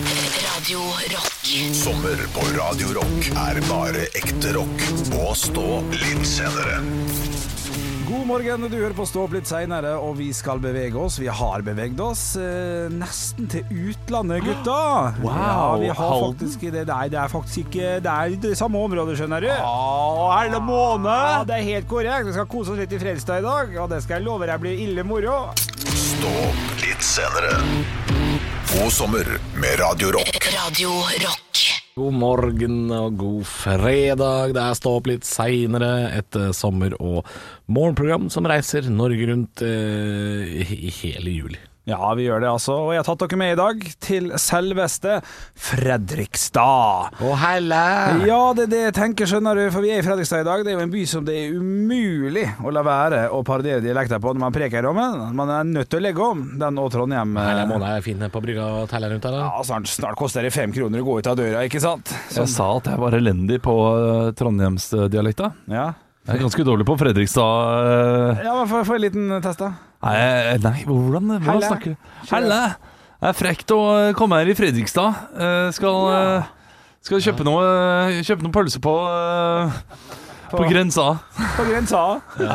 Radio Rock. Sommer på Radio Rock er bare ekte rock. Og stå litt senere. God morgen, du hører på Stå opp litt seinere, og vi skal bevege oss. Vi har beveget oss eh, nesten til utlandet, gutta. Wow, ja, vi har Halden? faktisk det, Nei, det er faktisk ikke Det er det samme området, skjønner du. er det måne? Ja, det er helt korrekt. Vi skal kose oss litt i Fredrikstad i dag, og det skal jeg love deg blir ille moro. Stå opp litt senere. God sommer med Radio Rock. Radio Rock. God morgen og god fredag. Det er Stå opp litt seinere, et eh, sommer- og morgenprogram som reiser Norge rundt eh, i i hele juli. Ja, vi gjør det, altså. Og jeg har tatt dere med i dag til selveste Fredrikstad. Å, helle! Ja, det er det jeg tenker, skjønner du, for vi er i Fredrikstad i dag. Det er jo en by som det er umulig å la være å parodiere dialekter på når man preker om den. Man er nødt til å legge om den og Trondheim. eh, Herlig måne er fin på brygga og teller rundt her. da. Ja, snart, snart koster det fem kroner å gå ut av døra, ikke sant? Så, Jeg sa at jeg var elendig på eh, trondheimsdialekta. ja. Jeg er ganske dårlig på Fredrikstad eh, ja, men få få en liten test, da. Nei, eh, nei hvordan, Helle. hvordan snakker du? Helle! Det er frekt å eh, komme her i Fredrikstad. Eh, Skal, eh, skal kjøpe noe eh, Kjøpe noen pølser på, eh, på grensa. På grensa.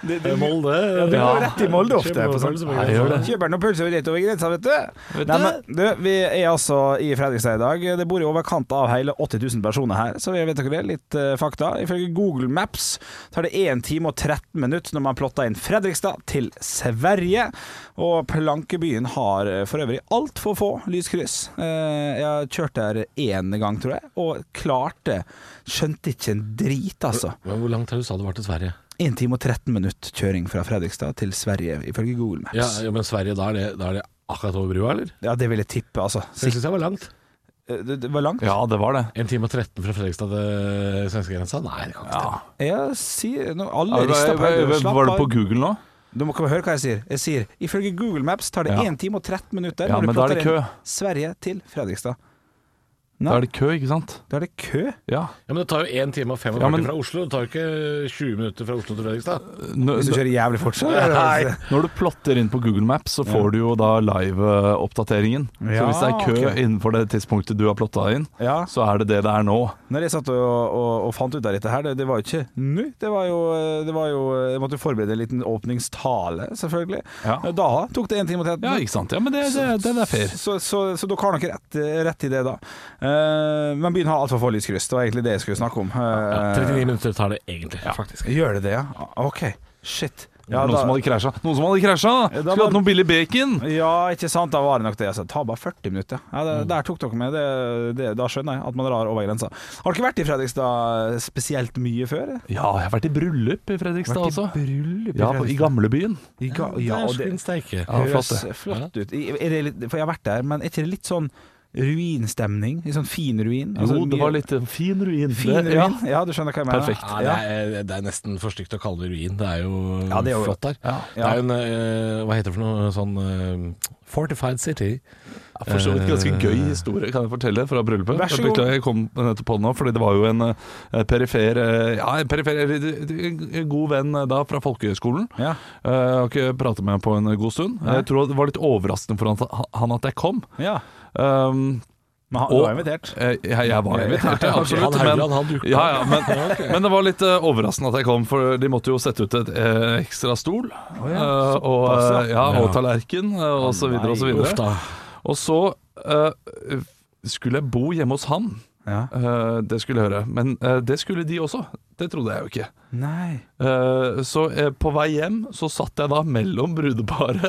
Det- det- Molde. Det går rett i Molde ofte. på sånt. Ja, det gjør det. Kjøper noen pølser rett over grensa, vet du. Vet Nei, du? men, du, vi er altså i Fredrikstad i dag. Det bor i overkant av hele 80 000 personer her, så vi vet dere det. Litt eh, fakta. Ifølge Google Maps tar det 1 time og 13 minutter når man plotter inn Fredrikstad til Sverige. Og plankebyen har eh, for øvrig altfor få lyskryss. Eh, Jeg har kjørt der én gang, tror jeg, og klarte Skjønte ikke en drit, altså. Men hvor langt har du sa det var til Sverige? 1 time og 13 minutter kjøring fra Fredrikstad til Sverige, ifølge Google Maps. Ja, ja, Men Sverige, da er det, da er det akkurat over brua, eller? Ja, det vil jeg tippe, altså. Eh, Jeg syns jeg var langt. Det, det var langt. Ja, det var det. En time og 13 fra Fredrikstad til svenskegrensa? Nei, det kan ikke stemme. Jeg sier nå, Alle Ja, rister på hodet. Var var det på Google nå? Du må ikke høre hva jeg sier. Jeg sier ifølge Google Maps tar det Ja. 1 time og 13 minutter Ja, når men du da er plotter det inn kø. Sverige til Fredrikstad. Nei. Da er det kø, ikke sant? Da er det kø. Ja. Ja, Men det tar jo 1 time og 45 Ja, men- fra Oslo. Det tar jo ikke 20 minutter fra Oslo til Fredrikstad. Nå- Hvis du kjører jævlig fort, så er det- Når du plotter inn på Google Maps, så får du jo da live-oppdateringen. Ja, så hvis det er kø ok. innenfor det tidspunktet du har plotta inn, Ja. så er det det det er nå. Når jeg satt og, og, og fant ut av dette her, det, det var jo ikke nå. Det var jo, det var jo Jeg måtte jo forberede en liten åpningstale, selvfølgelig. Ja. Da tok det 1 time og 13 Ja, ikke sant? Ja, men det, det, det, er fair. Så, så, så dere har nok rett, rett i det, da. Eh, men byen har altfor få lyskryss. Det var egentlig det jeg skulle snakke om. Ja, Eh, 39 minutter tar det egentlig, faktisk. Gjør det det, ja? OK. Shit. Ja, noen, da, som hadde krasja. noen som hadde krasja! da Skulle var- hatt noe billig bacon! ja, ikke sant. Da var det nok det. Altså, ta bare 40 minutter. Ja, det, Mm. Der tok dere med. Det, det, da skjønner jeg at man drar over grensa. Har dere vært i Fredrikstad eh, spesielt mye før? Ja, jeg har vært i bryllup i Fredrikstad Vært i også. bryllup i ja, på- I Fredrikstad? gamlebyen. I ga, ja, og det Dæsken steike. Ja, flott, høres det. flott ut. I- Er det litt, for jeg har vært der, men er ikke det litt sånn ruinstemning? Litt sånn fin ruin? Jo, Altså, det var mye- litt fin ruin. Fin Det- ja. ruin? Ja, du skjønner hva jeg mener. Perfekt. Ja, det, er, det er nesten for stygt å kalle det ruin. Det er jo Ja, det er jo- flott der. Ja. Det er jo en eh, Hva heter det for noe sånn eh, Fortified City. Ja, For så vidt ganske gøy historie, kan jeg fortelle, fra bryllupet. Eh. Vær så Jeg god. Beklager, jeg kom nettopp på det nå, fordi det var jo en eh, perifer eh, Ja, en perifer eller, eh, en god venn eh, da fra folkehøyskolen. Ja. Eh, Jeg har ikke pratet med ham på en god stund. Nei. Jeg tror det var litt overraskende for han- han at jeg kom. Ja. Um, Men han, Og- du var invitert. jeg, Eh, jeg jeg var invitert, ja, absolutt. Han Men, Haugland, han dukka ja, ja, opp. men, men det var litt eh, overraskende at jeg kom, for de måtte jo sette ut et eh, ekstra stol. eh, og, eh, ja, og tallerken, eh, og så videre og så Uff videre. da. Og så eh, skulle jeg bo hjemme hos han. Ja. Eh, det skulle jeg høre. Men eh, det skulle de også. Det trodde jeg jo ikke. Nei. Eh, så eh, på vei hjem så satt jeg da mellom brudeparet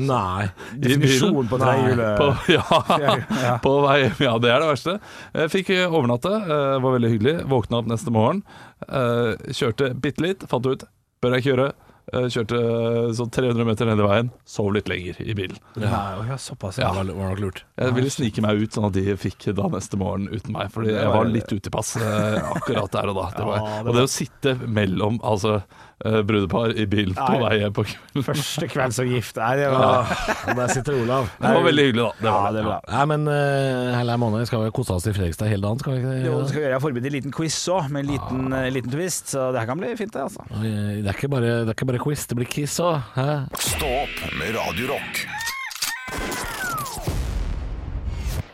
Nei. i bilen. Definisjonen på På, trehjulet. ja, Ja. på vei hjem. Ja, det er det verste. Jeg fikk eh, overnatte, eh, var veldig hyggelig. Våkna opp neste morgen, eh, kjørte bitte litt, fant ut bør jeg ikke gjøre. Eh, Kjørte eh, sånn 300 meter ned i veien, sov litt lenger i bilen. Nei, ja, såpass, Det ja. var, var nok lurt. Jeg ville snike meg ut, sånn at de fikk da neste morgen uten meg. Fordi jeg var litt ute i pass eh, akkurat der og da. Det var, og det å sitte mellom altså, eh, brudepar i bilen på Nei. vei hjem på kvelden Første kveld som gift. Nei, det var Ja. Og der sitter Olav. Det var veldig hyggelig, da. Det Ja, var. det er bra. Nei, men uh, Herleia Måne, skal vi kose oss i Fredrikstad hele dagen? Skal vi ikke det? Jo, det skal vi gjøre. Jeg har forberedt en liten quiz òg, med en liten, eh, liten twist. Så det her kan bli fint, det. altså Oi, Det er ikke bare, det er ikke bare quiz, det blir quiz òg. Stå opp med Radio Rock.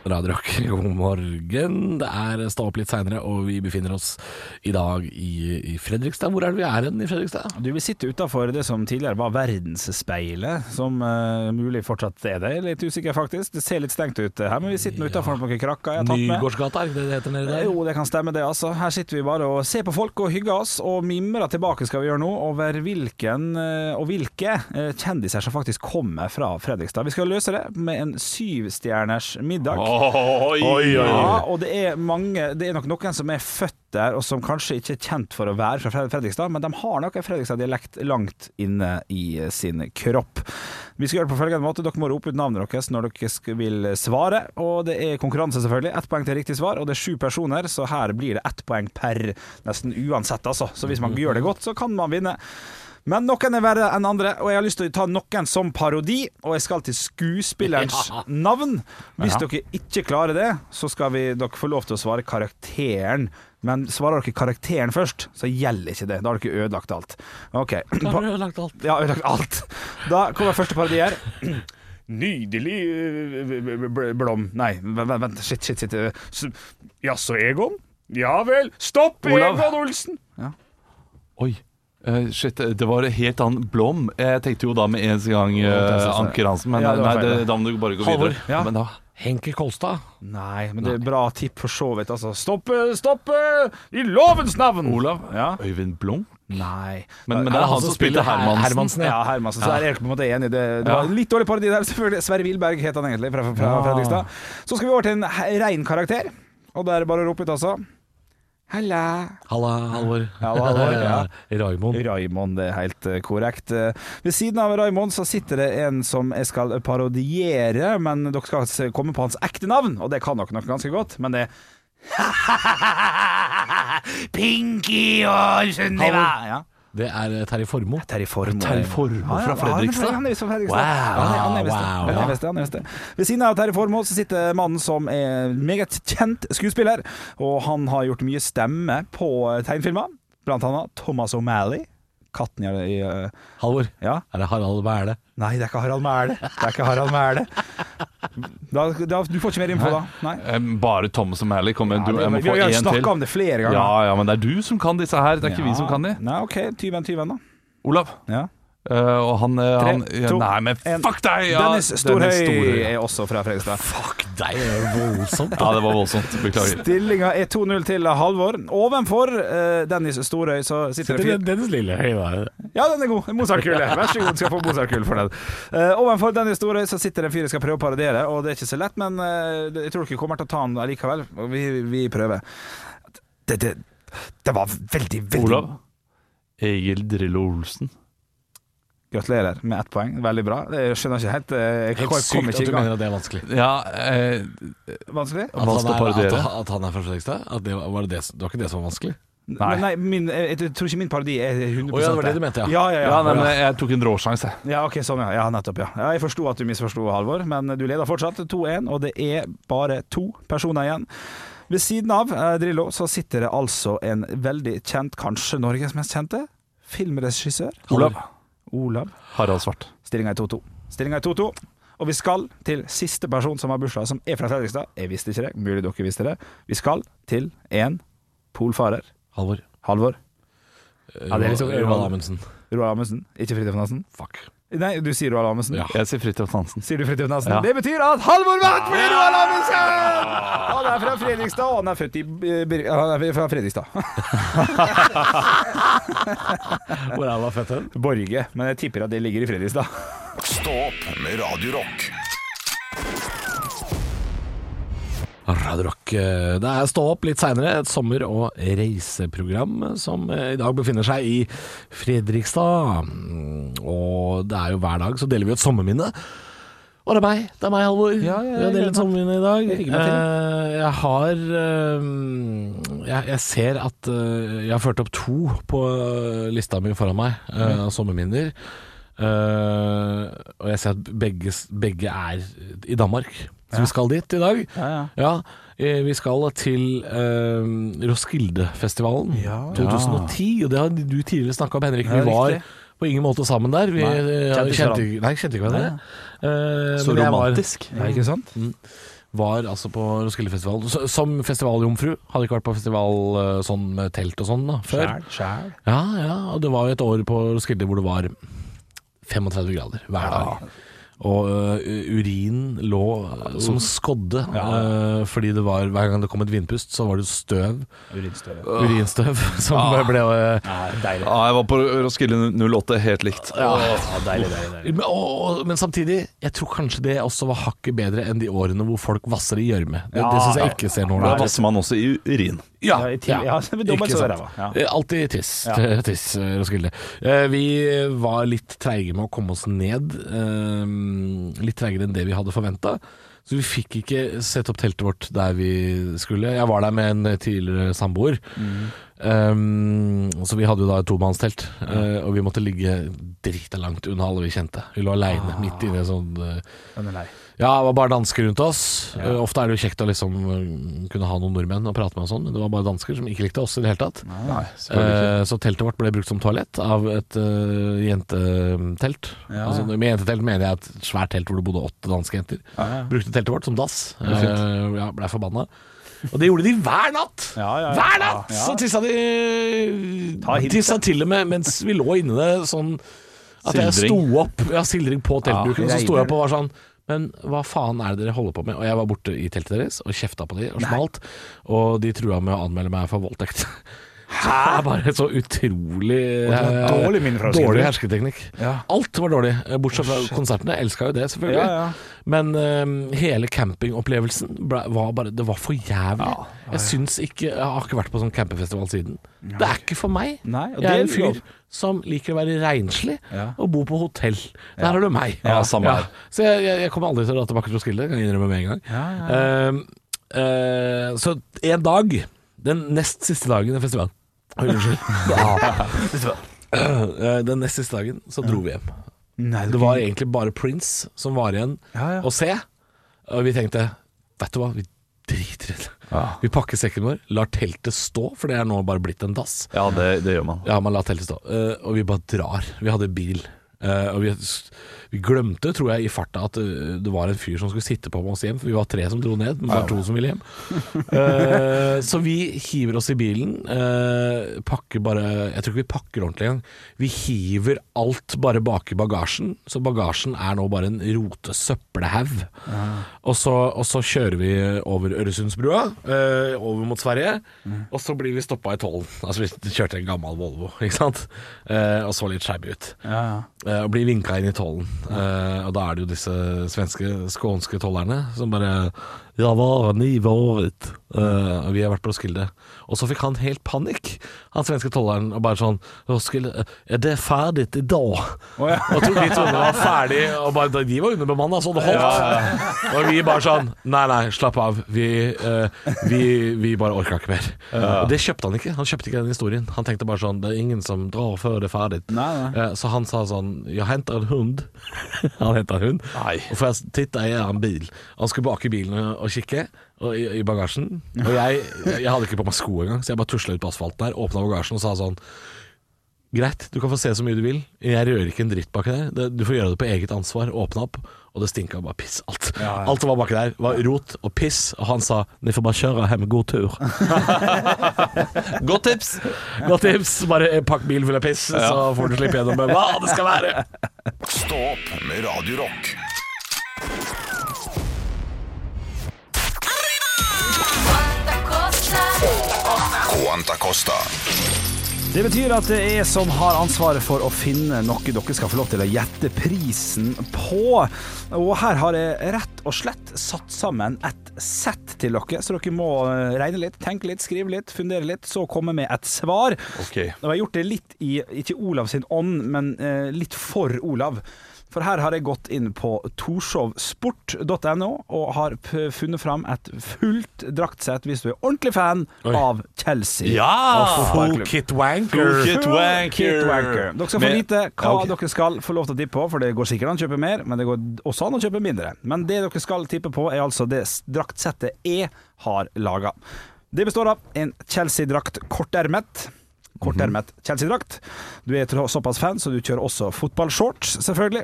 Radio Rock, god morgen. Det er eh, Stå opp litt seinere, og vi befinner oss i dag i, i Fredrikstad. Hvor er det vi er hen i Fredrikstad? Du vil sitte utafor det som tidligere var verdensspeilet, som eh, mulig fortsatt er det. Jeg er Litt usikker, faktisk. Det ser litt stengt ut her, men vi sitter nå utafor noen krakker jeg har tatt med. Nygårdsgata, er det det det heter nede Eh, der? Jo, det kan stemme det, altså. Her sitter vi bare og ser på folk og hygger oss, og mimrer tilbake skal vi gjøre nå over hvilken eh, og hvilke eh, kjendiser som faktisk kommer fra Fredrikstad. Vi skal løse det med en syvstjerners middag. Oi, Ja, og det er mange Det er nok noen som er født der, og som kanskje ikke er kjent for å være fra Fred- Fredrikstad, men de har nok en Fredrikstad-dialekt langt inne i eh, sin kropp. Vi skal gjøre det på følgende måte. Dere må rope ut navnet deres når dere sk- vil svare. Og det er konkurranse, selvfølgelig. Ett poeng til riktig svar, og det er sju personer, så her blir det ett poeng per nesten uansett, altså. Så hvis man Mhm. gjør det godt, så kan man vinne. Men noen er verre enn andre, og jeg har lyst til å ta noen som parodi. Og jeg skal til skuespillerens Ja. navn. Hvis dere ikke klarer det, så skal vi, dere få lov til å svare karakteren. Men svarer dere karakteren først, så gjelder ikke det. Da har dere ødelagt alt. Ok. Da har Pa du ødelagt alt. ja, ødelagt alt. Da kommer første parodi her. Nydelig øh, bl- blom Nei, vent, vent. Shit, shit, shit. øh, s- Jaså, Egon? Ja vel. Stopp, Olav. Egon Olsen! Oi. Eh, shit, det var en helt annen Blom. Jeg tenkte jo da med en gang eh, det er sånn. Anker Hansen, men Ja, det nei, var feil, det, det. da må du bare gå Halvor, videre. ja. Men da, Henke Kolstad. Nei, men det er bra tipp for så vidt. Altså, stopp, eh, stopp eh, i lovens navn! Olav? Ja. Øyvind Blom? Nei. Men, men det er han som spilte Hermansen. Hermansen ja. Ja, Hermansen. Så er jeg på en måte enig. i Det, det Ja. var litt dårlig parodi der, selvfølgelig. Sverre Wilberg het han egentlig, fra, fra Ja. Fredrikstad. Så skal vi over til en he- rein karakter, og da er det bare å rope ut, altså. Halla. Halla, Halvor. Halla, Halvor, ja. Raymond. Raymond, det er helt eh, korrekt. Eh, Ved siden av Raymond så sitter det en som jeg skal parodiere, men dere skal s- komme på hans ekte navn, og det kan dere nok ganske godt, men det er Pinky og Sunniva! Ja. Det er eh, Terje Formoe. Terje Formoe. Terje Formoe fra Fredrikstad? Han er visst fra Fredrikstad. Wow, Ja, han er- han er visst det. wow, Han er ja. visst det, han er visst det. Ved siden av Terje Formoe så sitter mannen som er meget kjent skuespiller, og han har gjort mye stemme på tegnfilmer, blant annet Thomas O'Malley. Katten i, i eh, Halvor. Ja. Er det Harald Bæle? Nei, det er ikke Harald Mæhle. Det er ikke Harald Mæhle. Da, da, du får ikke mer info da. Nei. Eh, Bare Thomas og Mally kommer. Ja, du, det- jeg må vi få har jo én til. snakka om det flere ganger. Ja, ja, men det er du som kan disse her. Det er ikke vi som kan de. Nei, OK. Tyven, tyven, da. Olav. Ja. Eh, og han, eh, han ja, to, Nei, men en. fuck deg! Ja, Dennis Storhøy Storhøy. er også fra Fredrikstad. Fuck deg, det er voldsomt. Ja, det var voldsomt. Beklager. Stillinga er 2-0 til Halvor. Ovenfor eh, Dennis Storøy så sitter det en fyr Dennis Lillehøy, da. Ja, den er god! Mozartkule. Vær så god, skal få Mozartkule for den. Eh, ovenfor Dennis Storøy så sitter det en fyr jeg skal prøve å parodiere, og det er ikke så lett, men eh, det- jeg tror dere kommer til å ta han likevel. Og Vi, vi prøver. Det, det, det var veldig, veldig Olav. Egil Drillo Olsen. Gratulerer med ett poeng. Veldig bra. Jeg skjønner ikke helt eh, Jeg Helt kom sykt ikke at i du gang. mener at det er vanskelig. Ja, eh, Vanskelig? At han vanskelig er, å at, parodiere. at han er fra Fredrikstad? At det, var- var det, det, som- det var ikke det som var vanskelig? Nei, nei min, jeg, jeg tror ikke min parodi er 100 Å ja, det var det du mente, ja. Ja, ja, ja. Ja, nei, men eh, jeg tok en råsjanse, jeg. Ja, ok, sånn, ja. ja nettopp, ja. ja jeg forsto at du misforsto, Halvor, men du leder fortsatt 2-1, og det er bare to personer igjen. Ved siden av eh, Drillo så sitter det altså en veldig kjent, kanskje Norges mest kjente, filmregissør. Olav. Olav. Harald Svart. Stillinga er 2-2. Stillinga er 2-2. Og vi skal til siste person som har bursdag, som er fra Fredrikstad. Jeg visste ikke det, mulig dere visste det. Vi skal til en polfarer. Halvor. Halvor. Ja, det er liksom- Roald Amundsen. Roald Amundsen. Ikke Fridtjof Nansen. Fuck. Nei, du sier Roald Amundsen. Ja. Jeg sier Fridtjof Nansen. Sier du Fridtjof Nansen? Ja. Det betyr at Halvor vant fordi Roald Amundsen! Han er fra Fredrikstad, og han er født i eh, Bir Han er fra Fredrikstad. Hvor er han da født hen? Borge, men jeg tipper at det ligger i Fredrikstad. Stå opp med Radio Rock. Radio Rock. eh, Det er Stå opp litt seinere, et sommer- og reiseprogram eh, som eh, i dag befinner seg i Fredrikstad. Mm, Og det er jo hver dag så deler vi et sommerminne. Og det er meg, det er meg, Halvor. Ja, ja, ja, vi jeg har delt gleder meg. sommerminne i dag. Jeg rigger meg til. Eh, Jeg har eh, jeg, jeg ser at eh, jeg har ført opp to på eh, lista mi foran meg eh, Mm. av sommerminner. Eh, og jeg ser at begge, begge er i Danmark. Så vi skal dit i dag. ja. Ja, eh, vi skal til eh, Roskildefestivalen 2010, og det har du tidligere snakka om, Henrik. Ja, Vi var riktig. på ingen måte sammen der. Vi Nei, eh, kjente ikke kjente, nei, kjente ikke hverandre. Eh, Så men jeg var- romantisk. Ja, ikke sant? var altså på Roskildefestivalen s- som festivaljomfru. Hadde ikke vært på festival eh, sånn med telt og sånn da, før. Skjær. Ja, ja, og det var jo et år på Roskilde hvor det var 35 grader hver dag. Og ø, urin lå ø, som skodde, ø, fordi det var hver gang det kom et vindpust, så var det støv, Eh, Urinstøvet. urinstøv, som ble eh, ø, Nei, deilig. Ja, jeg var på Roskilde 08, helt likt. Ja, deilig, deilig, deilig. men, og, og, men samtidig, jeg tror kanskje det også var hakket bedre enn de årene hvor folk vasser i gjørme. Det, Ja. det syns jeg ikke ser noe Da der. vasser man også i urin. Ja, i til- ja, så vi dobbelt Ikke så sant. ræva, ja. Eh, Alltid tiss, Ja. t- tiss eh, Roskilde. Eh, Vi var litt treige med å komme oss ned. eh, Litt treigere enn det vi hadde forventa. Så vi fikk ikke sett opp teltet vårt der vi skulle. Jeg var der med en tidligere samboer. Mm. Eh, så vi hadde jo da et tomannstelt, eh, og vi måtte ligge drita langt unna alle vi kjente. Vi lå aleine Ah. midt inne i en sånn eh, Den er lei. ja, det var bare dansker rundt oss. Eh, Ofte er det jo kjekt å liksom eh, kunne ha noen nordmenn å prate med og sånn, men det var bare dansker som ikke likte oss i det hele tatt. Nei, Eh, så teltet vårt ble brukt som toalett av et eh, jentetelt. Altså, med jentetelt mener jeg et svært telt hvor det bodde åtte danske jenter. Brukte teltet vårt som dass. Eh, ja, Blei forbanna. Og det gjorde de hver natt! Ja, ja, ja. Hver natt! Ja, ja. Så tissa Ta de hint, Tissa til og med mens vi lå inne det sånn at jeg sto Sildring. opp Ja, sildring på teltduken. Ja, og så sto jeg opp regner. og var sånn men hva faen er det dere holder på med? Og jeg var borte i teltet deres og kjefta på de og smalt. Og de trua med å anmelde meg for voldtekt. Hæ?! Det er bare så utrolig eh, dårlig minne fra å skrive. Dårlig hersketeknikk. Ja. Alt. Alt var dårlig, eh, bortsett fra konsertene. Elska jo det, selvfølgelig. Ja, ja. Men eh, hele campingopplevelsen ble, var bare Det var for jævlig. Jeg syns ikke Jeg har ikke vært på sånn campingfestival siden. Det er ikke for meg. Nei, og jeg er en det er lov. fyr som liker å være renslig Ja. og bo på hotell. Der har du meg. Ja, samme her. Så jeg, jeg, jeg kommer aldri til å dra tilbake til Roskilde, kan jeg innrømme med en gang. Eh, eh, så en dag, den nest siste dagen i festivalen Oi, Unnskyld. Eh, den nest siste dagen så dro vi hjem. Nei, Det var egentlig bare Prince som var igjen Ja, ja. å se. Og vi tenkte Vet du hva, vi driter i det. Ja. Vi pakker sekken vår, lar teltet stå, for det er nå bare blitt en dass. Ja, det, det gjør man. Ja, man lar teltet stå. Eh, og vi bare drar. Vi hadde bil. Eh, og vi, vi glemte, tror jeg, i farta at eh, det var en fyr som skulle sitte på med oss hjem. For vi var tre som dro ned, men bare to som ville hjem. Eh, så vi hiver oss i bilen. eh, pakker bare Jeg tror ikke vi pakker ordentlig engang. Vi hiver alt bare bak i bagasjen. Så bagasjen er nå bare en rote søppelhaug. Og, så, og så kjører vi over Øresundsbrua, eh, over mot Sverige. Og så blir vi stoppa i tollen. Altså, vi kjørte en gammel Volvo, ikke sant. Eh, og så litt skeive ut. Ja, ja. Eh, og blir vinka inn i tollen. Eh, og da er det jo disse svenske, skånske tollerne som bare Ja, hva har ni varit? Eh, og vi har vært på Roskilde. Og så fikk han helt panikk, han svenske tolleren, og bare sånn Roskilde, er det ferdig i dag? ja. Og tro- de trodde det var ferdig, og bare, de var underbemanna, så det holdt. Og vi bare sånn Nei, nei, slapp av. Vi, eh, vi, vi bare orka ikke mer. Og det kjøpte han ikke. Han kjøpte ikke den historien. Han tenkte bare sånn Det er ingen som drar før det er ferdig. Nei, Eh, Så han sa sånn Jeg henter en hund Han henter en hund Nei. Og for jeg titta i en bil Han skulle bak i bilen og, og kikke og, i, I bagasjen Og jeg, jeg hadde ikke på meg sko engang Så jeg bare tuslet ut på asfalten der Åpnet bagasjen og sa sånn Greit, du kan få se så mye du vil Jeg rører ikke en dritt bak der Det- Du får gjøre det på eget ansvar Åpne opp Og det stinket bare piss alt Alt som var bak der var rot og piss Og han sa Ni får bare kjøre hjem god tur Godt tips! Godt tips Bare eh, pakk bilen full av piss Så får du slippe gjennom med Hva det skal være Stå opp med Radio Rock. Quanta Costa. Det betyr at det er jeg som har ansvaret for å finne noe dere skal få lov til å gjette prisen på. Og her har jeg rett og slett satt sammen et sett til dere, så dere må eh, regne litt, tenke litt, skrive litt, fundere litt, så komme med et svar. Ok. Og jeg har gjort det litt i, ikke Olav sin ånd, men eh, litt for Olav. For her har jeg gått inn på torshovsport.no og har p- funnet fram et fullt draktsett hvis du er ordentlig fan Oi. av Chelsea. Ja! og fotballklubb. Kit Full Wanker. kit wanker. Kit Wanker. Dere skal få Med- vite hva Ja, ok. dere skal få lov til å tippe på, for det går sikkert an å kjøpe mer, men det går også an å kjøpe mindre. Men det dere skal tippe på, er altså det s- draktsettet jeg har laga. Det består av en Chelsea-drakt kortermet. Mhm. Kortermet Chelsea-drakt. Du er tro- såpass fan, så du kjører også fotballshorts, selvfølgelig.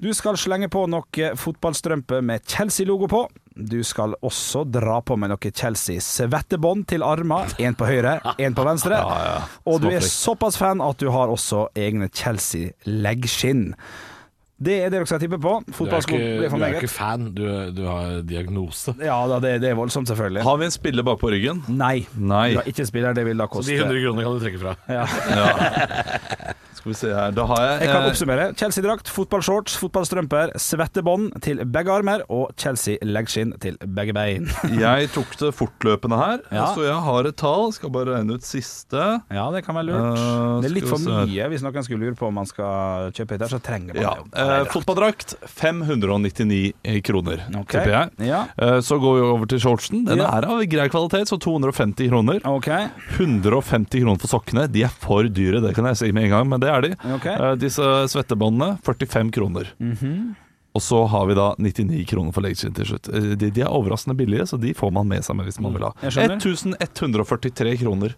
Du skal slenge på noe fotballstrømpe med Chelsea-logo på. Du skal også dra på med noe Chelsea-svettebånd til armer. Én på høyre, én på venstre. Og du er såpass fan at du har også egne Chelsea-leggskinn. Det er det dere skal tippe på. Du er Fotballsko ikke, blir for du er ikke meget. fan, du, du har diagnose. Ja da, det, det er voldsomt, selvfølgelig. Har vi en spiller bak på ryggen? Nei. Nei. Du har ikke spiller, det vil da koste De 100 kronene kan du trekke fra. Skal vi se her Da har jeg, Jeg kan eh, oppsummere. Chelsea-drakt, fotballshorts, fotballstrømper, svettebånd til begge armer og Chelsea-leggskinn til begge bein. Jeg tok det fortløpende her, Ja. så jeg har et tall. Skal bare regne ut siste. Ja, det kan være lurt. Eh, det er litt skal for vi se her. mye hvis noen skulle lure på om man skal kjøpe hytte, her, så trenger man Ja. det. Eh, fotballdrakt 599 eh, kroner, Ok. tipper jeg. Ja. Eh, Så går vi over til shortsen. Den Ja. er av grei kvalitet, så 250 kroner. OK. 150 kroner for sokkene. De er for dyre, det kan jeg si med en gang, men det er de. ok Eh, Disse svettebåndene 45 kroner. Mhm. Og så har vi da 99 kroner for leggskinn til slutt. Eh, De, de er overraskende billige, så de får man med seg med hvis man vil ha. Jeg skjønner. 1143 kroner.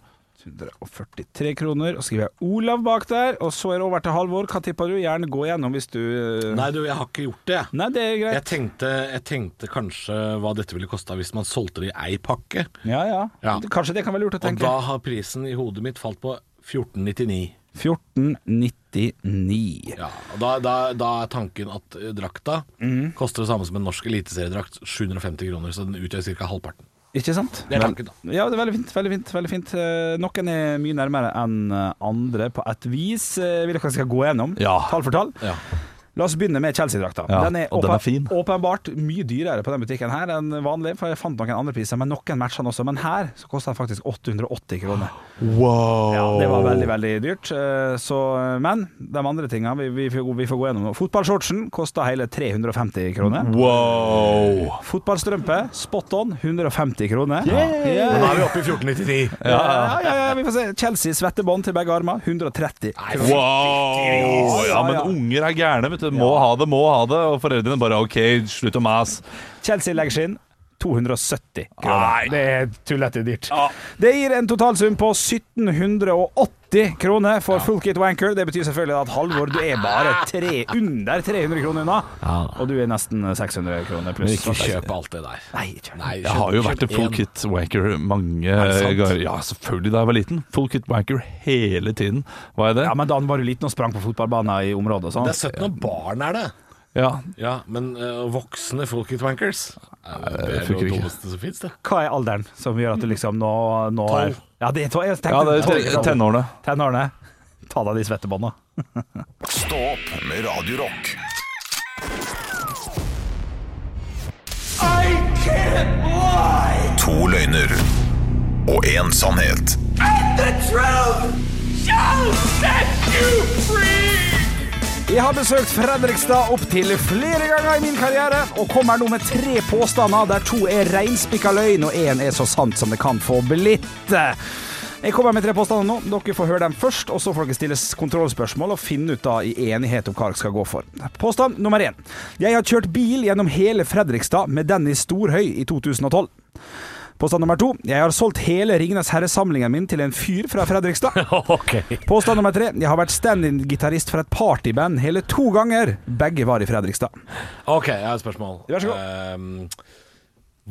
143 kroner. Og skriver jeg Olav bak der. Og så er det over til Halvor. Hva tipper du? Gjerne gå gjennom hvis du eh, Nei, du, jeg har ikke gjort det, jeg. Nei, det er Jeg greit. tenkte, jeg tenkte kanskje hva dette ville kosta hvis man solgte det i ei pakke. Ja, ja. Ja. Kanskje det kan være lurt å Og tenke. da har prisen i hodet mitt falt på 1499. 1499. Ja, og da, da, da er tanken at eh, drakta koster det samme som en norsk eliteseriedrakt, 750 kroner, så den utgjør ca. halvparten. Ikke sant? Det er tanken, da. Ja, det er veldig fint. veldig fint, veldig fint. Eh, Noen er mye nærmere enn eh, andre på et vis. Eh, Vil dere skal gå gjennom Ja. tall for tall? Ja. La oss begynne med Chelsea-drakta. Ja, den er, og den er åpen- fin. åpenbart mye dyrere på den butikken her enn vanlig, for jeg fant noen andre priser, men noen matcher den også. Men her så koster den faktisk 880 kroner. Wow! Ja, det var veldig, veldig dyrt. Eh, Så, men de andre tinga vi, vi, får gå- vi får gå gjennom nå. Fotballshortsen kosta hele 350 kroner. Mm. Wow! Fotballstrømpe, spot on, 150 kroner. Og da er vi oppe i 1499. Ja, ja, ja, vi får se. Chelsea svettebånd til begge armer, 130 kroner. Wow! Ja, Ja, men ja. unger er gærne, vet du. Må ha det, må ha det. Og foreldrene bare OK, slutt å mase. Chelsea leggskinn, 270 Nei. kroner. Det er tullete dyrt. Det gir en totalsum på 1780 kroner for full kit wanker. Det betyr selvfølgelig at Halvor, du er bare tre, under 300 kroner unna. Og du er nesten 600 kroner pluss. Ikke kjøp alt det der. Nei, ikke kjøp. Nei, Jeg har jo vært en full kit wanker mange sant? ganger. Ja, selvfølgelig da jeg var liten. Full kit wanker hele tiden. Var jeg det? Ja, men da han var du liten og sprang på fotballbanen i området og sånn. Det er 17 og barn er det. Ja. Ja, men eh, voksne folk i twankers Det er funker jo det ikke. dummeste som fins, det. Hva er alderen som gjør at du liksom nå, nå er Tolv. Ja, det er tolv. Jeg tenkte ja, det er tolv. te- tenårene. Tenårene. Ta deg de svettebånda. Stå opp med Radio Rock. To løgner og én sannhet. Jeg har besøkt Fredrikstad opptil flere ganger i min karriere, og kommer nå med tre påstander der to er reinspikka løgn, og én er så sant som det kan få blitt. Jeg kommer med tre påstander nå. Dere får høre dem først, og så får dere stille kontrollspørsmål og finne ut da i enighet om hva dere skal gå for. Påstand nummer én. Jeg har kjørt bil gjennom hele Fredrikstad med Dennis Storhøy i 2012. Påstand nummer to. Jeg har solgt hele Ringenes herre-samlingen min til en fyr fra Fredrikstad. Påstand nummer tre. Jeg har vært stand-in-gitarist for et partyband hele to ganger. Begge var i Fredrikstad. Ok, jeg har et spørsmål. Vær så god. Ehm,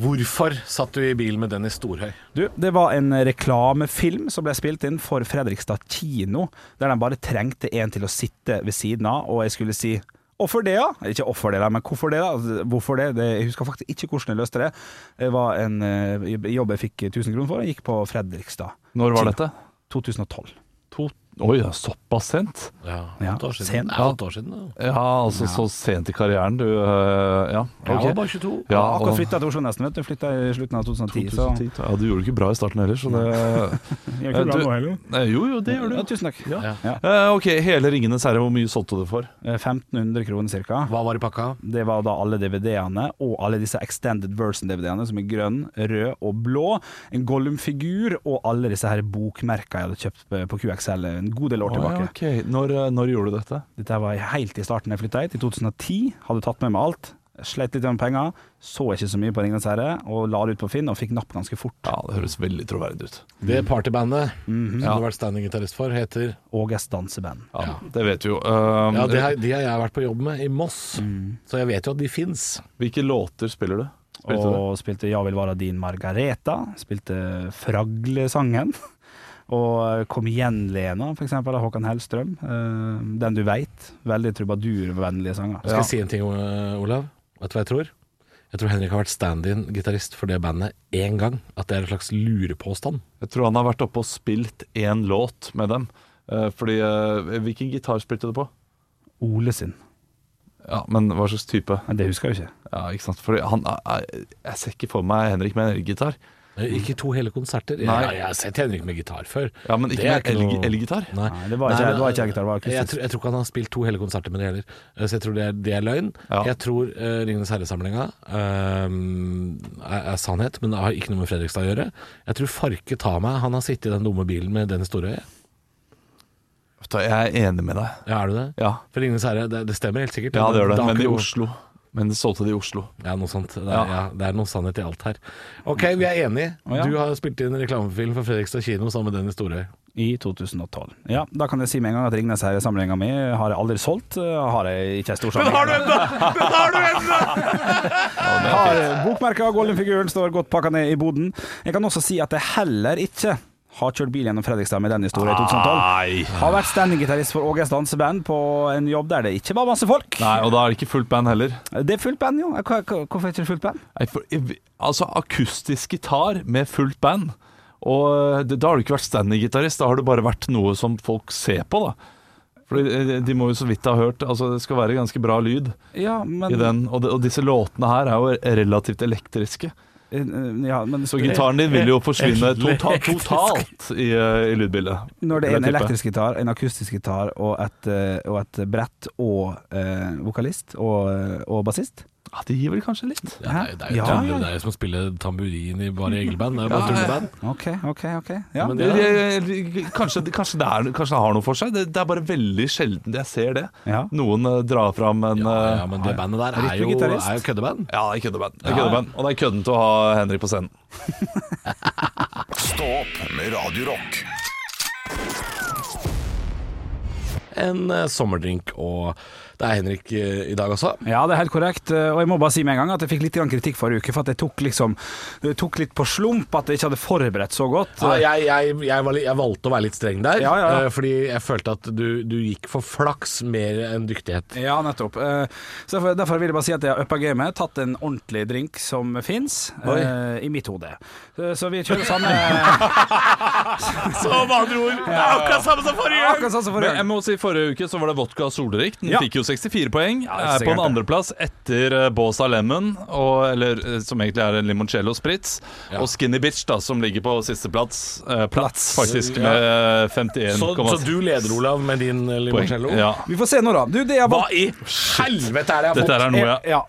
hvorfor satt du i bil med Dennis Storhøy? Du, det var en reklamefilm som ble spilt inn for Fredrikstad kino, der de bare trengte en til å sitte ved siden av, og jeg skulle si Hvorfor det, da? Ikke hvorfor det, da, men hvorfor det? da? Altså, Hvorfor det? det jeg husker faktisk ikke hvordan jeg løste det. Det var en eh, jobb jeg fikk 1000 kroner for, og jeg gikk på Fredrikstad. Når var dette? 2012. To Oi, ja, såpass sent? Ja, Ja, åtte år siden. sen. Det er åtte år siden da. Ja, altså så sent i karrieren, du. øh, Ja, Jeg var ok. bare 22. Ja, Jeg har akkurat og- flytta til Oslo nesten, vet du. Flytta i slutten av 2010, 2010. Ja, du gjorde det ikke bra i starten heller, så det så Jeg gjør ikke bra Du- nå heller. Nei, Jo, jo, det gjør du. Ja, Eh, tusen takk. Ja. Ja. Eh, ok, hele Ringenes herre, hvor mye solgte du det for? Eh, 1500 kroner cirka. Hva var i pakka? Det var da alle DVD-ene, og alle disse extended version-DVD-ene, som er grønn, rød og blå. En Gollum-figur, og alle disse her bokmerka jeg hadde kjøpt på- på QXL en god del år Å, ja, tilbake. ok. når, eh, når gjorde du dette? Dette her var helt i starten jeg flytta hit, i 2010. Hadde tatt med meg alt. Slet litt med penger, så ikke så mye på Ringenes herre, og la det ut på Finn og fikk napp ganske fort. Ja, det høres veldig troverdig ut. Det partybandet Mhm. som du har vært standing-gitarist for, heter Åges danseband. Ja, Det vet vi jo. Um, Ja, de har, de har jeg vært på jobb med i Moss, Mm. så jeg vet jo at de fins. Hvilke låter spiller du? Spilte du? Og spilte 'Jeg vil være din Margareta', spilte Fragle-sangen. Og eh, 'Kom igjen, Lena', for eksempel, av Håkan Hellstrøm. Eh, Den du veit. Veldig trubadurvennlige sanger. Skal jeg si en ting, O- Olav? Vet du hva jeg tror? Jeg tror Henrik har vært stand-in-gitarist for det bandet én gang. At det er en slags lurepåstand. Jeg tror han har vært oppe og spilt én låt med dem. Eh, fordi eh, Hvilken gitar spilte du på? Ole sin. Ja, men hva slags type? Men det husker jeg jo ikke. Ja, ikke sant? Fordi han er, er, Jeg ser ikke for meg Henrik med en elgitar. Eh, Ikke to hele konserter. Jeg, Nei. jeg, har sett Henrik med gitar før. Ja, men ikke Det er med elg- noe- elgitar? Nei. Nei, det var ikke- men, det var ikke gitar, det var akustisk. Jeg, tror- jeg tror ikke han har spilt to hele konserter med det heller, Eh, så jeg tror det er, det er løgn. Ja. Jeg tror uh, Ringenes herre-samlinga eh, er, er sannhet, men det har ikke noe med Fredrikstad å gjøre. Jeg tror Farke tar meg, han har sittet i den dumme bilen med Dennis Storøye. Vet du hva, Jeg er enig med deg. Ja, er du det? Ja, For Ringenes herre, det, det stemmer helt sikkert. ja det gjør det. Da Men kan i jo- Oslo. Men de solgte det i Oslo. Ja, noe sånt. Det er, Ja. ja. det er noe sannhet i alt her. Ok, vi er enige. ja. Du har spilt inn reklamefilm for Fredrikstad kino sammen med Dennis Storøy. I 2012. Ja, da kan jeg si med en gang at Ringnes herre-samlinga mi har jeg aldri solgt. eh, Har jeg ikke en stor samling. Har bokmerka og Golden-figuren står godt pakka ned i boden. Jeg kan også si at jeg heller ikke har kjørt bil gjennom Fredrikstad med den Ah. historien i 2012. Nei. Har vært standing-gitarist for Åges danseband på en jobb der det ikke var masse folk. Nei, og da er det ikke fullt band heller. Det er fullt band, jo. Hva- hva- Hvorfor er det ikke fullt band? Nei, for, altså akustisk gitar med fullt band. Og eh, det, da har du ikke vært standing-gitarist, da har du bare vært noe som folk ser på, da. Fordi eh, de må jo så vidt ha hørt Altså, det skal være ganske bra lyd Ja, men, i den. Og, det- og disse låtene her er jo relativt elektriske. Eh, ja, men Så gitaren din vil jo forsvinne tota totalt i, eh, i lydbildet. Når det er en Vil jeg tippe. elektrisk gitar, en akustisk gitar og et, eh, og et brett og eh, vokalist og, eh, og bassist Ja, det gir vel kanskje litt. Hæ? Det er jo, Ja, tulle- ja, Det er jo som å spille tamburin i bare Egil-band. Det er jo bare tulleband. OK, OK. ok ja. Men det- Det- det- det- Kanskje, kanskje, det er, kanskje det har noe for seg. Det, det er bare veldig sjelden jeg ser det. Ja. Noen eh, drar fram en Ja, eh, ja, men det bandet der er Riktig jo, gitarist. er jo køddeband. Ja, det er køddeband. Det er køddeband. Og det er kødden til å ha Henrik på scenen. Stå opp med Radio Rock. En eh, sommerdrink, og det er Henrik eh, i dag også. Ja, det er helt korrekt. Eh, Og jeg må bare si med en gang at jeg fikk litt grann kritikk forrige uke for at jeg tok, liksom, jeg tok litt på slump at jeg ikke hadde forberedt så godt. Ja, jeg, jeg, jeg, var, li- jeg valgte å være litt streng der, Ja, ja, ja. eh, fordi jeg følte at du, du gikk for flaks mer enn dyktighet. Ja, nettopp. Eh, Så derfor, derfor vil jeg bare si at jeg har uppa gamet, tatt en ordentlig drink som fins, Oi. i mitt hode. Eh, Så vi kjører samme Så med andre ord, det er akkurat samme som forrige Akkurat sånn som Men jeg forrige gang. må si Forrige uke så var det vodka solrik. Den Ja. fikk jo 64 poeng. det er er på en sikkert det. andreplass etter eh, Bosa Lemon, og, eller, eh, som egentlig er en limoncello spritz, og Skinny Bitch, da, som ligger på sisteplass. Eh, plats, faktisk, Ja. med eh, Så, 51,6 så du leder, Olav, med din eh, poeng. limoncello? Ja. Vi får se nå, da. Du, det jeg Hva valgt i helvete er det jeg har fått? Dette her er noe jeg Ja,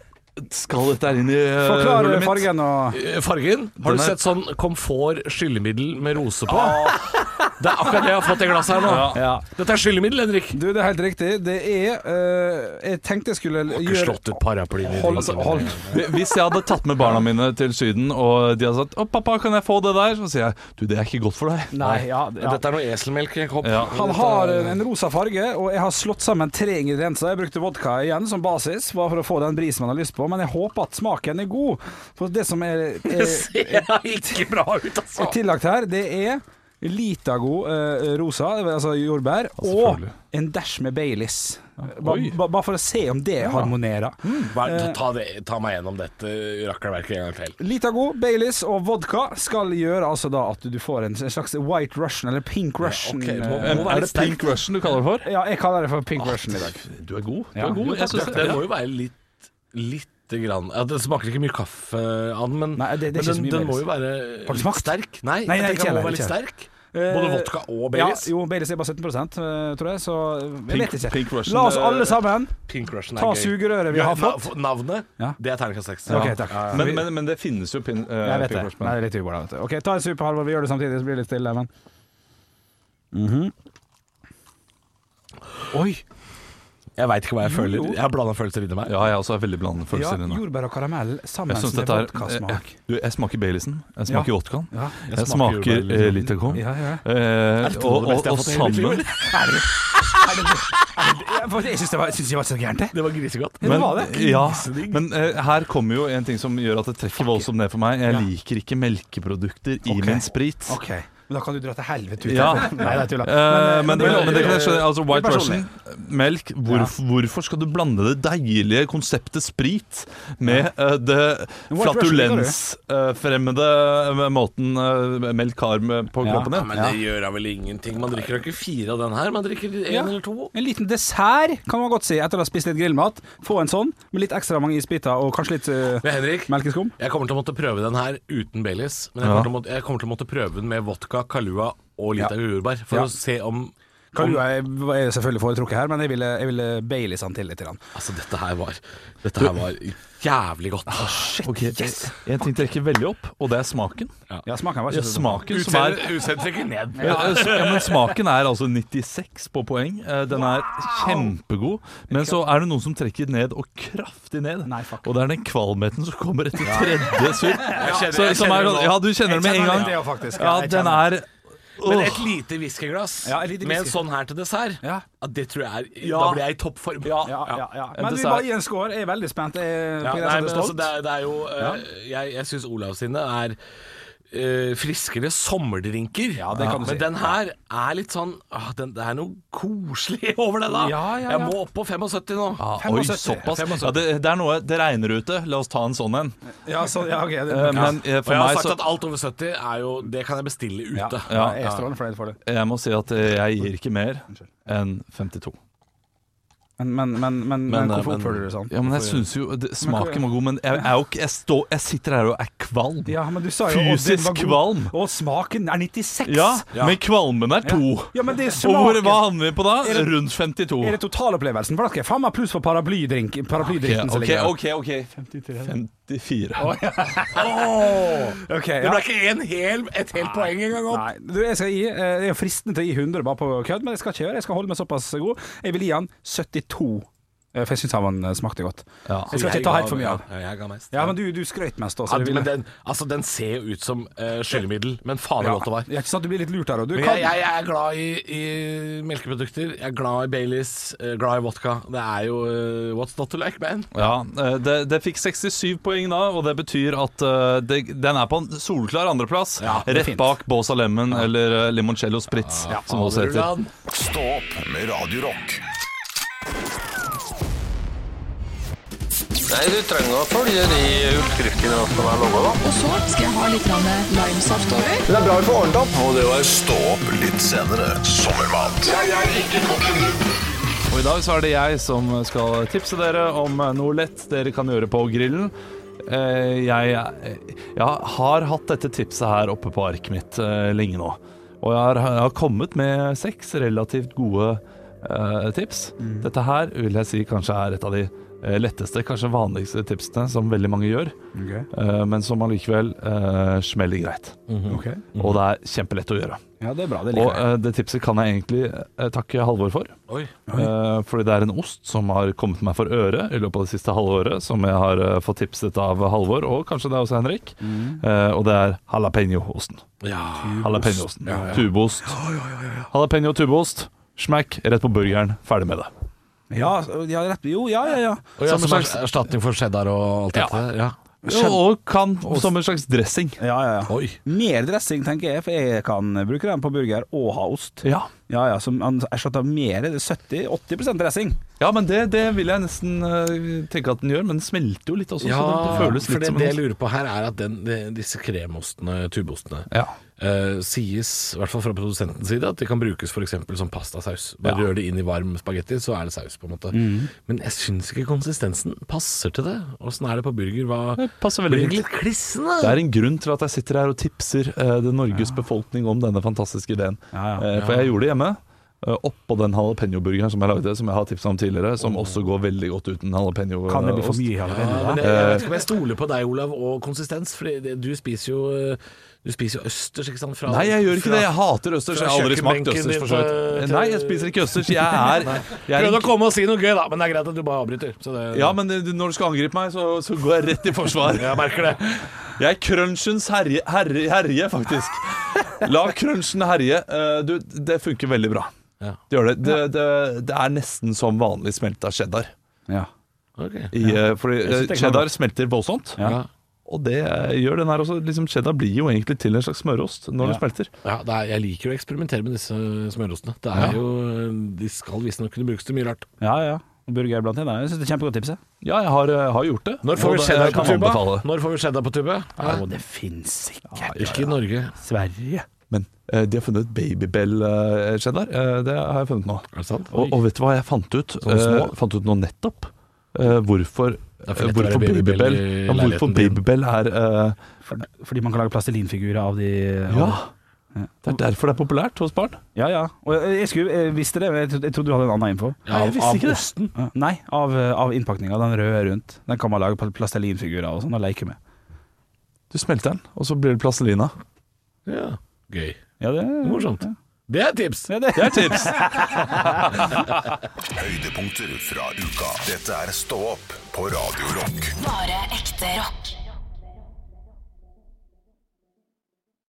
Skal dette her inn i eh, Forklar hullet mitt? fargen og Eh, Fargen? Har du Den er- sett sånn komfort skyllemiddel med rose på? Det er akkurat det jeg har fått i glasset her nå. Ja. Dette er skyllemiddel, Henrik. Du, det er helt riktig. Det er eh, Jeg tenkte jeg skulle Ikke gjøre slått ut paraplyen i Hold, drinken. hold. Hvis jeg hadde tatt med barna mine til Syden, og de hadde sagt 'Å, pappa, kan jeg få det der?' Så sier jeg 'Du, det er ikke godt for deg'. Nei, ja, ja. Dette er noe eselmelk i en kopp. Ja. Han har en rosa farge, og jeg har slått sammen tre ingredienser. Jeg brukte vodka igjen som basis, bare for å få den brisen man har lyst på. Men jeg håper at smaken er god. For det som er, Det er, ser ikke bra ut, altså. er tillagt her, det er Litago eh, rosa, altså jordbær, og selvfølgelig. en dæsj med Baileys. Bare Oi. ba, bare for å se om det harmonerer. Mm. Eh. Vær- Ta, det- ta meg gjennom dette rakkerverket en gang til. Litago, Baileys og vodka skal gjøre altså da at du får en slags white russian, eller pink russian. ok, må- eh, Er, er det Pink Russian du kaller det for? Ja, jeg kaller det for pink Ah, russian i dag. Du er god. Du Ja. er god. Jeg synes Det må jo være litt Lite grann ja, Det smaker ikke mye kaffe av den, men, Nei, det- det er men ikke så den, mye den må Baileys. jo være Har du litt smakt? sterk. Nei, Nei, jeg nei, tenker den må ikke være litt heller, sterk. Både vodka og Baileys. Ja, jo, Baileys er bare 17 eh, tror jeg, så jeg Pink- vet ikke. Pink Russian, La oss eh, alle sammen Pink Russian er ta gøy. sugerøret vi Ja, har na- fått. f- Navnet, Ja. det er terningkast seks. Ok, takk. Men, men, men det finnes jo pin, eh, Jeg vet Pink det. Russian. Nei, det er litt ubra, vet du. Ok, ta en sup, Halvor. Vi gjør det samtidig, så blir det litt stille. Men Mhm. Oi! Jeg veit ikke hva jeg føler. jo. Jeg har blanda følelser inni meg. Ja, jeg også er veldig blandet Ja, følelser inne. jordbær og karamell sammen Jeg synes med dette er jeg, vodkasmak. du, jeg smaker Baileysen, jeg smaker Ja. vodkaen, Ja. jeg, smaker, jordbær, liksom. eh, Litaco. Ja, ja. Eh, det og, beste og, jeg har fått i og hele mitt sammen liv, Jeg, for jeg syns det var, jeg synes det var så gærent, det. Det var grisegodt. Ja, det var det. ja, men eh, her kommer jo en ting som gjør at det trekker voldsomt ned for meg. Jeg Ja. liker ikke melkeprodukter i Ok. min sprit. Ok, men da kan du dra til helvete ut. altså. Ja. Nei, det er tulla. Eh, men, det, men- men det kan jeg skjønne. Altså, White det er Russian, melk hvorf, Hvorfor skal du blande det deilige konseptet sprit med eh, det White Russian flatulensfremmede måten eh, melk har med på Ja. kroppen din? men det gjør da vel ingenting. Man drikker jo ikke fire av den her, man drikker én Ja. eller to. En liten dessert kan man godt si etter å ha spist litt grillmat. Få en sånn med litt ekstra mange isbiter og kanskje litt eh, Men Henrik, melkeskum. jeg kommer til å måtte prøve den her uten Baileys. Men jeg kommer, til å måtte, jeg kommer til å måtte prøve den med vodka, kalua og litt Ja. av jordbær. For Ja. å se om, om Kalua er er selvfølgelig foretrukket her, men jeg ville, jeg ville Baileysen til litt. Grann. Altså, dette her var Dette her var jævlig godt. Ah, Ok, En ting trekker veldig opp, og det er smaken. Ja, smaken var Ja, ikke så god. smaken som er trekker ned. ja, s- ja, men Smaken er altså 96 på poeng. Eh, Den er kjempegod. Men så er det noen som trekker ned, og kraftig ned. Nei, fuck. Og det er den kvalmheten som kommer etter tredje surr. kjenner- Så- jeg som kjenner er det sånn- nå. Ja, du kjenner det med en kjenner gang. det, ja, faktisk. Ja, Ja, jeg den kjenner er Men Åh. et lite whiskyglass Ja, et lite med en whisky. sånn her til dessert, Ja. ja, det tror jeg er Ja. Da blir jeg i toppform. Ja, ja, ja. En Men vi dessert. bare gir en score. Jeg er veldig spent. Jeg, Ja, på nei, grensen til men altså, sånn stolt. det, er, det er jo eh, Jeg, jeg syns Olav sine er eh, friskere sommerdrinker. Ja, det kan du men si. den her er litt sånn ah, den, Det er noe koselig over det, da. Ja, ja, Jeg ja. må opp på 75 nå. Ah, Oi, 75. såpass. Ja, det, det er noe det regner ute. La oss ta en sånn en. ja, så, ja, ok, det, Eh, Men eh, Og for jeg har meg sagt så at alt over 70 er jo Det kan jeg bestille ja, ute. ja, jeg er strålende fornøyd for det. Jeg må si at eh, jeg gir ikke mer enn 52. Men, men, men, men, men hvorfor oppfører du deg sånn? Ja, men jeg synes jo det, Smaken hva- var god, men jeg, jeg, er jo ikke- jeg, står- jeg sitter her og er kvalm. Ja, men du sa jo å, den Fysisk var god. kvalm. Og smaken er 96! Ja, men kvalmen er to. ja men det er Og hvor, smaken. hva handler vi på da? Er det- Rundt 52. Er det totalopplevelsen? For da skal jeg faen meg pluss for paraplydrink, paraplydrinken som ok, ligger der. ok, ok. 54. Ok, Det ja. ble ikke en hel, et helt poeng engang opp. Nei, du, jeg, skal gi, eh, jeg er fristende til å gi 100 bare på kødd, men jeg skal ikke gjøre det. Jeg skal holde meg såpass god. Jeg vil gi han 72, eh, for jeg syns han eh, smakte godt. Ja. Jeg skal ikke ta helt for mye av. Ja, jeg ga mest. Ja, men du, du skrøt mest også. Ja, det vil men jeg- den, altså, den ser jo ut som eh, skyllemiddel, men faen så ja. godt det var. Ja, ikke sant, du blir litt lurt her, og du Men kan jeg, jeg, jeg er glad i, i melkeprodukter, jeg er glad i Baileys, eh, glad i vodka. Det er jo eh, what's not to like, man. Ja, eh, det, det fikk 67 poeng da, og det betyr at eh, det, den er på en solklar andreplass. Ja, det er rett fint. bak Bosa Lemon eller eh, Limoncello Spritz, som det også heter. Rullan. Stå opp med Radio Rock. Nei, du trenger å følge de oppskriftene som er laga, da. Og så skal jeg ha litt grann limesaft over. Det er bra vi får ordnet opp. Og det var Stå opp litt senere. Sommermat Og i dag så er det jeg som skal tipse dere om noe lett dere kan gjøre på grillen. Eh, Jeg, jeg, jeg har hatt dette tipset her oppe på arket mitt eh, lenge nå. Og jeg har, jeg har kommet med seks relativt gode eh, tips. Mm. Dette her vil jeg si kanskje er et av de eh, letteste, kanskje vanligste tipsene som veldig mange gjør. Ok, eh, men som allikevel eh, smeller greit. ok. Og det er kjempelett å gjøre. Ja, det er bra. Mm. Det Og liker jeg. eh, det tipset kan jeg egentlig eh, takke Halvor for. Oi. Eh, fordi det er en ost som har kommet meg for øre i løpet av det siste halvåret, som jeg har eh, fått tipset av Halvor, og kanskje det er også Henrik. Eh, og det er jalapeño-osten. Mm. Ja. Jalapeño-osten. Tubeost. Jalapeño tubeost. Smack, rett på burgeren. Ferdig med det. eh, Ja, ja, rett, jo, ja, ja, ja. Og ja, Samme som slags- er- erstatning for cheddar og alt Ja. dette. Ja. Og, og kan som en slags dressing. ja, ja, ja. Oi. Mer dressing, tenker jeg, for jeg kan bruke den på burger og ha ost. Ja. Ja, ja, som han erstatter mer 70-80 dressing. ja, men det, det vil jeg nesten eh, tenke at den gjør, men den smelter jo litt også, så det, det føles for litt det, som det en jeg ost. lurer på her, er at den, de- disse kremostene, tubeostene, Ja. eh, sies, i hvert fall fra produsentens side, at de kan brukes f.eks. som pastasaus. Bare Ja. Mhm. rør det inn i varm spagetti, så er det saus, på en måte. Men jeg syns ikke konsistensen passer til det. Åssen er det på burger? Hva Det passer Blir veldig fint. det litt klissende? Det er en grunn til at jeg sitter her og tipser eh, det Norges befolkning om denne fantastiske ideen. Ja, ja. Eh, for jeg gjorde det hjemme. eh, oppå den jalapeño-burgeren som jeg lagde, som jeg har tipsa om tidligere, som også går veldig godt uten eh, jalapeño-ost. Kan det bli for mye Ja, men allerede? jeg, jeg Eh, vet ikke om jeg stoler på deg, Olav, og konsistens. For du spiser jo Du spiser jo østers, ikke sant? Fra, Nei, jeg gjør ikke det. Jeg fra- hater østers. fra Jeg har aldri smakt kjøkkenbenken østers, din for så til- vidt. Eh, til- Nei, jeg spiser ikke østers. Jeg er, jeg er Prøvde å en komme og si noe gøy, da, men det er greit at du bare avbryter. Så det, Ja, men eh, når du skal angripe meg, så, så går jeg rett i forsvar. Jeg merker det. Jeg er crunchens herje, herje, herje faktisk. La crunchen herje. Eh, Du, det funker veldig bra. Ja. Det gjør det. Det, det. det er nesten som vanlig smelta cheddar. Ja. Ok. I, eh, Fordi eh, synes det er cheddar smelter voldsomt, Ja. Ja. og det eh, gjør den her også. Liksom, cheddar blir jo egentlig til en slags smørost når Ja. den smelter. Ja, det er, jeg liker jo å eksperimentere med disse smørostene. Det er jo, De skal visstnok kunne brukes til mye rart. ja, ja. Burger blant annet. Jeg synes det er kjempegodt tips. jeg. Ja, jeg har, eh, har gjort det. Når får Og vi det- cheddar jeg på kan tuba? anbefale det. Når får vi cheddar på tube? Å, det fins sikkert. Ikke i Norge. Sverige. Men eh, de har funnet babybell-cheddar. Eh, det har jeg funnet nå. Er det sant? Og, og vet du hva jeg fant ut? små? Eh, fant ut nå nettopp eh, hvorfor, er for lett å hvorfor være babybell babybell i ja, hvorfor leiligheten din. babybell er eh, For, fordi man kan lage plastelinfigurer av de Ja! av- Det er derfor det er populært hos barn. ja, ja. Og jeg, jeg skulle jeg visste det, men jeg trodde, jeg trodde du hadde en annen info. Ja, Nei, jeg visste ikke det. osten. Ja, Nei, av, av innpakninga. Den røde rundt. Den kan man lage pl- plastelinfigurer av og sånn og leke med. Du smelter den, og så blir det plastelina. Ja. Gøy. Ja, det er Morsomt. Det er et tips! Ja, det. Det er tips! Høydepunkter fra uka. Dette er Stå opp på Radio Rock. Bare ekte rock.